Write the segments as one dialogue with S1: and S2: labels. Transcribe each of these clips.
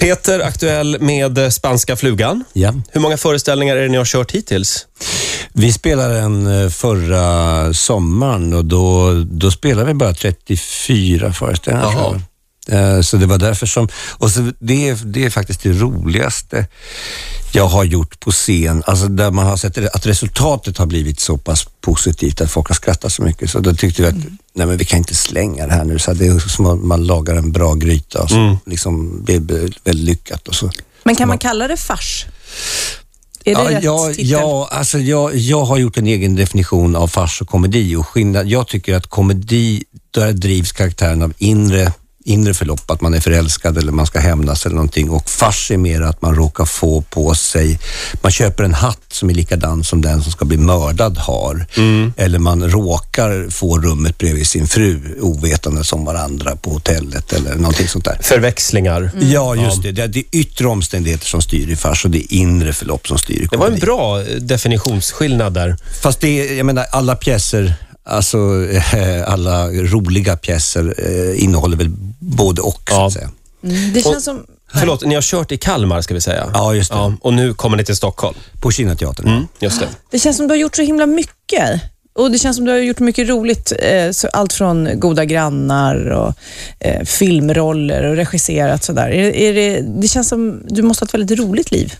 S1: Peter, aktuell med eh, Spanska flugan.
S2: Ja.
S1: Hur många föreställningar är det ni har kört hittills?
S2: Vi spelade den eh, förra sommaren och då, då spelade vi bara 34 föreställningar.
S1: Jaha.
S2: tror jag. Eh, Så det var därför som... Och så det, är- det är faktiskt det roligaste jag har gjort på scen. Alltså där man har sett att resultatet har blivit så pass positivt att folk har skrattat så mycket. Så då tyckte vi att nej men vi kan inte slänga det här nu. Så det är som att man lagar en bra gryta och så liksom, det blir väldigt lyckat. Och så.
S3: Men kan man kalla det fars? Är det rätt
S2: ja,
S3: titel?
S2: ja, alltså jag, jag har gjort en egen definition av fars och komedi och skillnad. Jag tycker att komedi, där drivs karaktären av inre, inre förlopp, att man är förälskad eller man ska hämnas eller någonting. Och fars är mer att man råkar få på sig, man köper en hatt som är likadan som den som ska bli mördad har.
S1: Mm.
S2: Eller man råkar få rummet bredvid sin fru ovetande som varandra på hotellet eller någonting sånt där.
S1: Förväxlingar.
S3: Mm.
S2: Ja, just det. det. Det är yttre omständigheter som styr i fars och det är inre förlopp som styr i
S1: Det var en
S2: komedi.
S1: bra eh, definitionsskillnad där.
S2: Fast det, jag menar alla pjäser, alltså eh, alla roliga pjäser eh, innehåller väl både och så
S1: Ja.
S2: att säga.
S3: Mm, Det känns som...
S1: Förlåt, ni har kört i Kalmar ska vi säga.
S2: Ja, just det.
S1: och nu kommer ni till Stockholm.
S2: På Kinateatern.
S1: Mm, just det.
S3: Det känns som du har gjort så himla mycket. Och Det känns som du har gjort mycket roligt. eh, så Allt från goda grannar och eh, filmroller och regisserat. Sådär. Är, är det, det känns som du måste ha ett väldigt roligt liv.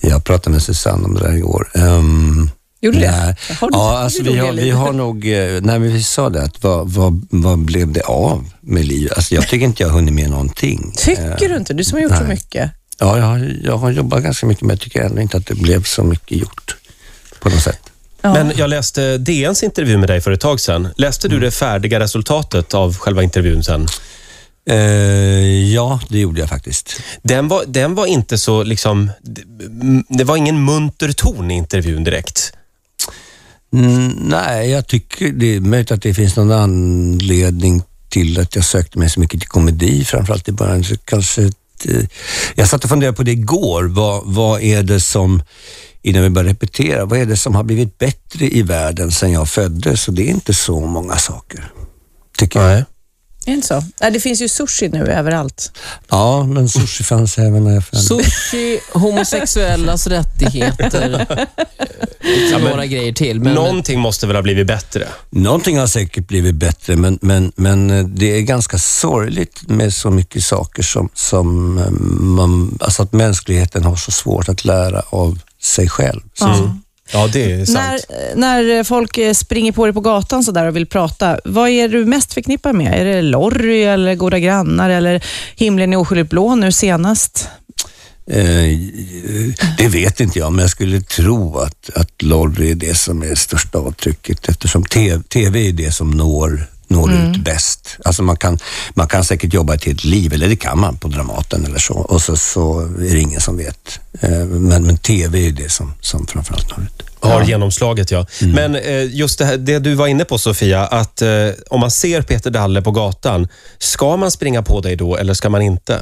S2: Jag pratade med Susanne om det där igår. Ehm,
S3: Gjorde du det?
S2: nej.
S3: Har du- har
S2: ja,
S3: du
S2: alltså, vi,
S3: roliga
S2: har, vi
S3: livet?
S2: har nog, eh, nej men vi sa det att vad, vad, vad blev det av med livet? Alltså, jag tycker inte jag har hunnit med någonting.
S3: Tycker du inte? Du som har gjort så mycket.
S2: Ja, jag har, jag har jobbat ganska mycket men jag tycker ändå inte att det blev så mycket gjort på något sätt.
S3: Ja.
S1: Men jag läste DNs intervju med dig för ett tag sedan. Läste du det färdiga resultatet av själva intervjun sen?
S2: Eh, ja, det gjorde jag faktiskt.
S1: Den var, den var inte så liksom... det- m- Det var ingen munter ton i intervjun direkt.
S2: Mm, nej, jag tycker det är möjligt att det finns någon anledning till att jag sökte mig så mycket till komedi, framförallt i början. Så kanske ett, eh, jag satt och funderade på det igår. Vad, vad är det som, innan vi börjar repetera, vad är det som har blivit bättre i världen sedan jag föddes? Och det är inte så många saker, tycker jag.
S3: Är det inte så? Nej, det finns ju sushi nu överallt.
S2: Ja, men sushi fanns även när jag föddes.
S4: Sushi, homosexuellas rättigheter,
S1: Ja, men
S4: några grejer till. Men
S1: Någonting måste väl ha blivit bättre?
S2: Någonting har säkert blivit bättre, men, men, men eh, det är ganska sorgligt med så mycket saker som, som eh, man, alltså att mänskligheten har så svårt att lära av sig själv. Så,
S1: Ja, det är sant.
S3: När, eh, när folk eh, springer på dig på gatan så där och vill prata, vad är du mest förknippad med? Är det Lorry eller Goda grannar eller Himlen är oskyldigt blå nu senast?
S2: eh, det vet inte jag, men jag skulle tro att, att Lorry är det som är det största avtrycket eftersom te- TV är det som når når ut bäst. Alltså man kan, man kan säkert jobba ett helt liv, eller det kan man på Dramaten eller så, och så, så är det ingen som vet. Eh, Men, men TV är det som, som framförallt når ut.
S1: Har genomslaget, ja. Men eh, just det, här, det du var inne på, Sofia, att eh, om man ser Peter Dalle på gatan, ska man springa på dig då eller ska man inte?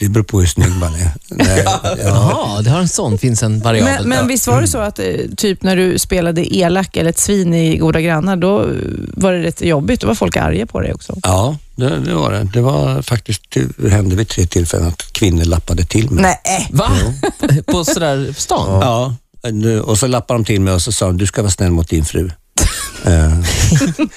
S2: Det beror på hur snygg man är. Nej, ja.
S4: Jaha, det har en sån, finns en variabel.
S3: Men, men visst var det så att eh, typ när du spelade elak eller ett svin i Goda grannar, då eh, var det rätt jobbigt. Då var folk arga på dig också.
S2: Ja, det, det var det. Det var faktiskt, det hände vid tre tillfällen att kvinnor lappade till mig.
S3: Nej.
S4: Va? På sådär på stan?
S2: Ja, nu- och så lappade de till mig och så sa de, du ska vara snäll mot din fru. Eh,